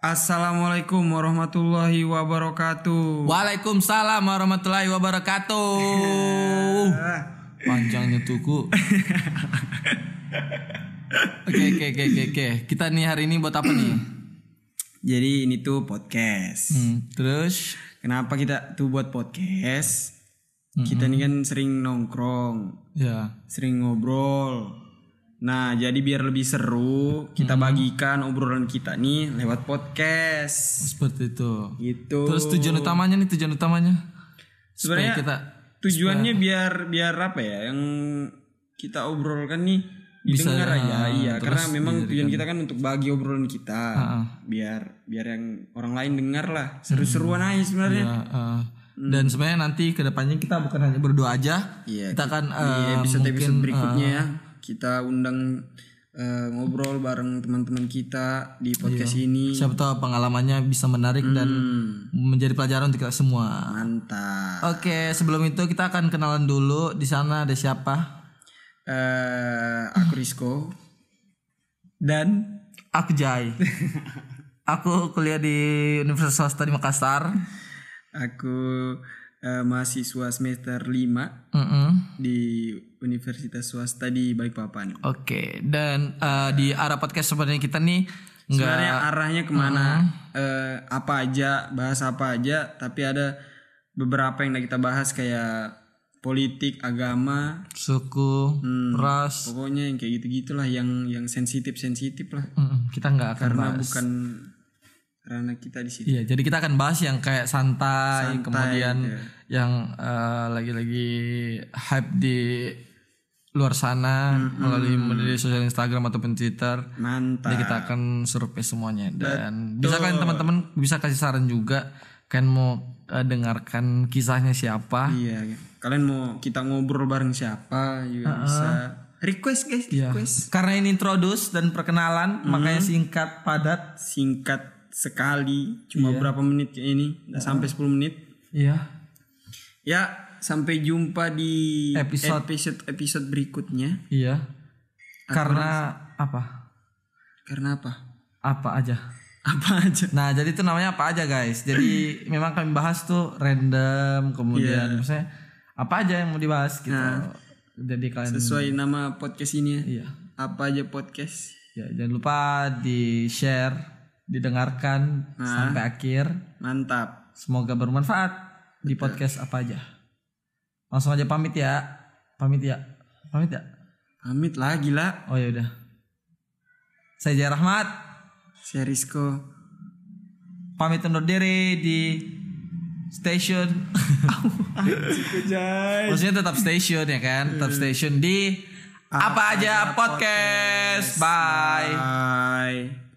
Assalamualaikum warahmatullahi wabarakatuh. Waalaikumsalam warahmatullahi wabarakatuh. Panjangnya tuku. Oke oke oke oke oke. Kita nih hari ini buat apa nih? Jadi ini tuh podcast. Hmm, terus Kenapa kita tuh buat podcast? Kita nih kan sering nongkrong, ya. sering ngobrol. Nah, jadi biar lebih seru, kita bagikan obrolan kita nih lewat podcast. Seperti itu. Gitu. Terus tujuan utamanya nih tujuan utamanya. Supaya Sebenarnya kita tujuannya biar biar apa ya? Yang kita obrolkan nih didengar Bisa, aja. ah, Iya, terus karena memang tujuan kita kan untuk bagi obrolan kita. ah. Biar biar yang orang lain dengar lah. Seru-seruan aja sebenarnya. ya, eh, Hmm. dan sebenarnya nanti kedepannya kita bukan hanya berdua aja. Iya, kita kan di eh, episode episode mungkin, berikutnya ya, kita undang eh, ngobrol bareng teman-teman kita di podcast Iya. ini. siapa tahu pengalamannya bisa menarik dan Hmm, menjadi pelajaran untuk kita semua. mantap. Oke, sebelum itu kita akan kenalan dulu. Di sana ada siapa? Eh, aku Rizko dan Aku Jai. Aku kuliah di Universitas Swasta di Makassar. aku eh, mahasiswa semester 5 Mm-mm. di Universitas Swasta di Balikpapan. Oke, dan eh, di arah podcast sebenarnya kita nih nggak Sebenarnya arahnya kemana? eh, apa aja, bahas apa aja, tapi ada beberapa yang kita bahas kayak politik, agama, suku, ras. pokoknya yang kayak gitu gitulah yang yang sensitif sensitif lah Mm-mm, Kita nggak akan karena bahas. bukan ranah kita di sini Iya, jadi kita akan bahas yang kayak santai, Santai, kemudian iya. yang eh, lagi-lagi hype di luar sana melalui media sosial Instagram ataupun Twitter. mantap Jadi kita akan survei semuanya dan bisa kan teman-teman bisa kasih saran juga kan mau eh, dengarkan kisahnya siapa iya kalian mau kita ngobrol bareng siapa juga bisa request guys ya request karena ini introduce dan perkenalan makanya singkat padat singkat sekali cuma berapa menit kayak ini nggak sampai 10 menit ya ya sampai jumpa di Episode. episode episode berikutnya iya karena apa karena apa apa aja apa aja nah jadi itu namanya apa aja guys jadi memang kami bahas tuh random kemudian maksudnya apa aja yang mau dibahas gitu jadi kalian sesuai nama podcast ini ya Hmm. iya apa aja podcast Ya, jangan lupa di share, didengarkan sampai akhir. mantap Semoga bermanfaat di podcast apa aja. Langsung aja pamit ya. Pamit ya. Pamit ya. Pamit lah gila. Oh ya udah. Saya Jaya Rahmat. Saya Rizko. Pamit undur diri di station. Maksudnya tetap station ya kan? Tetap station di apa aja podcast. Bye. Bye.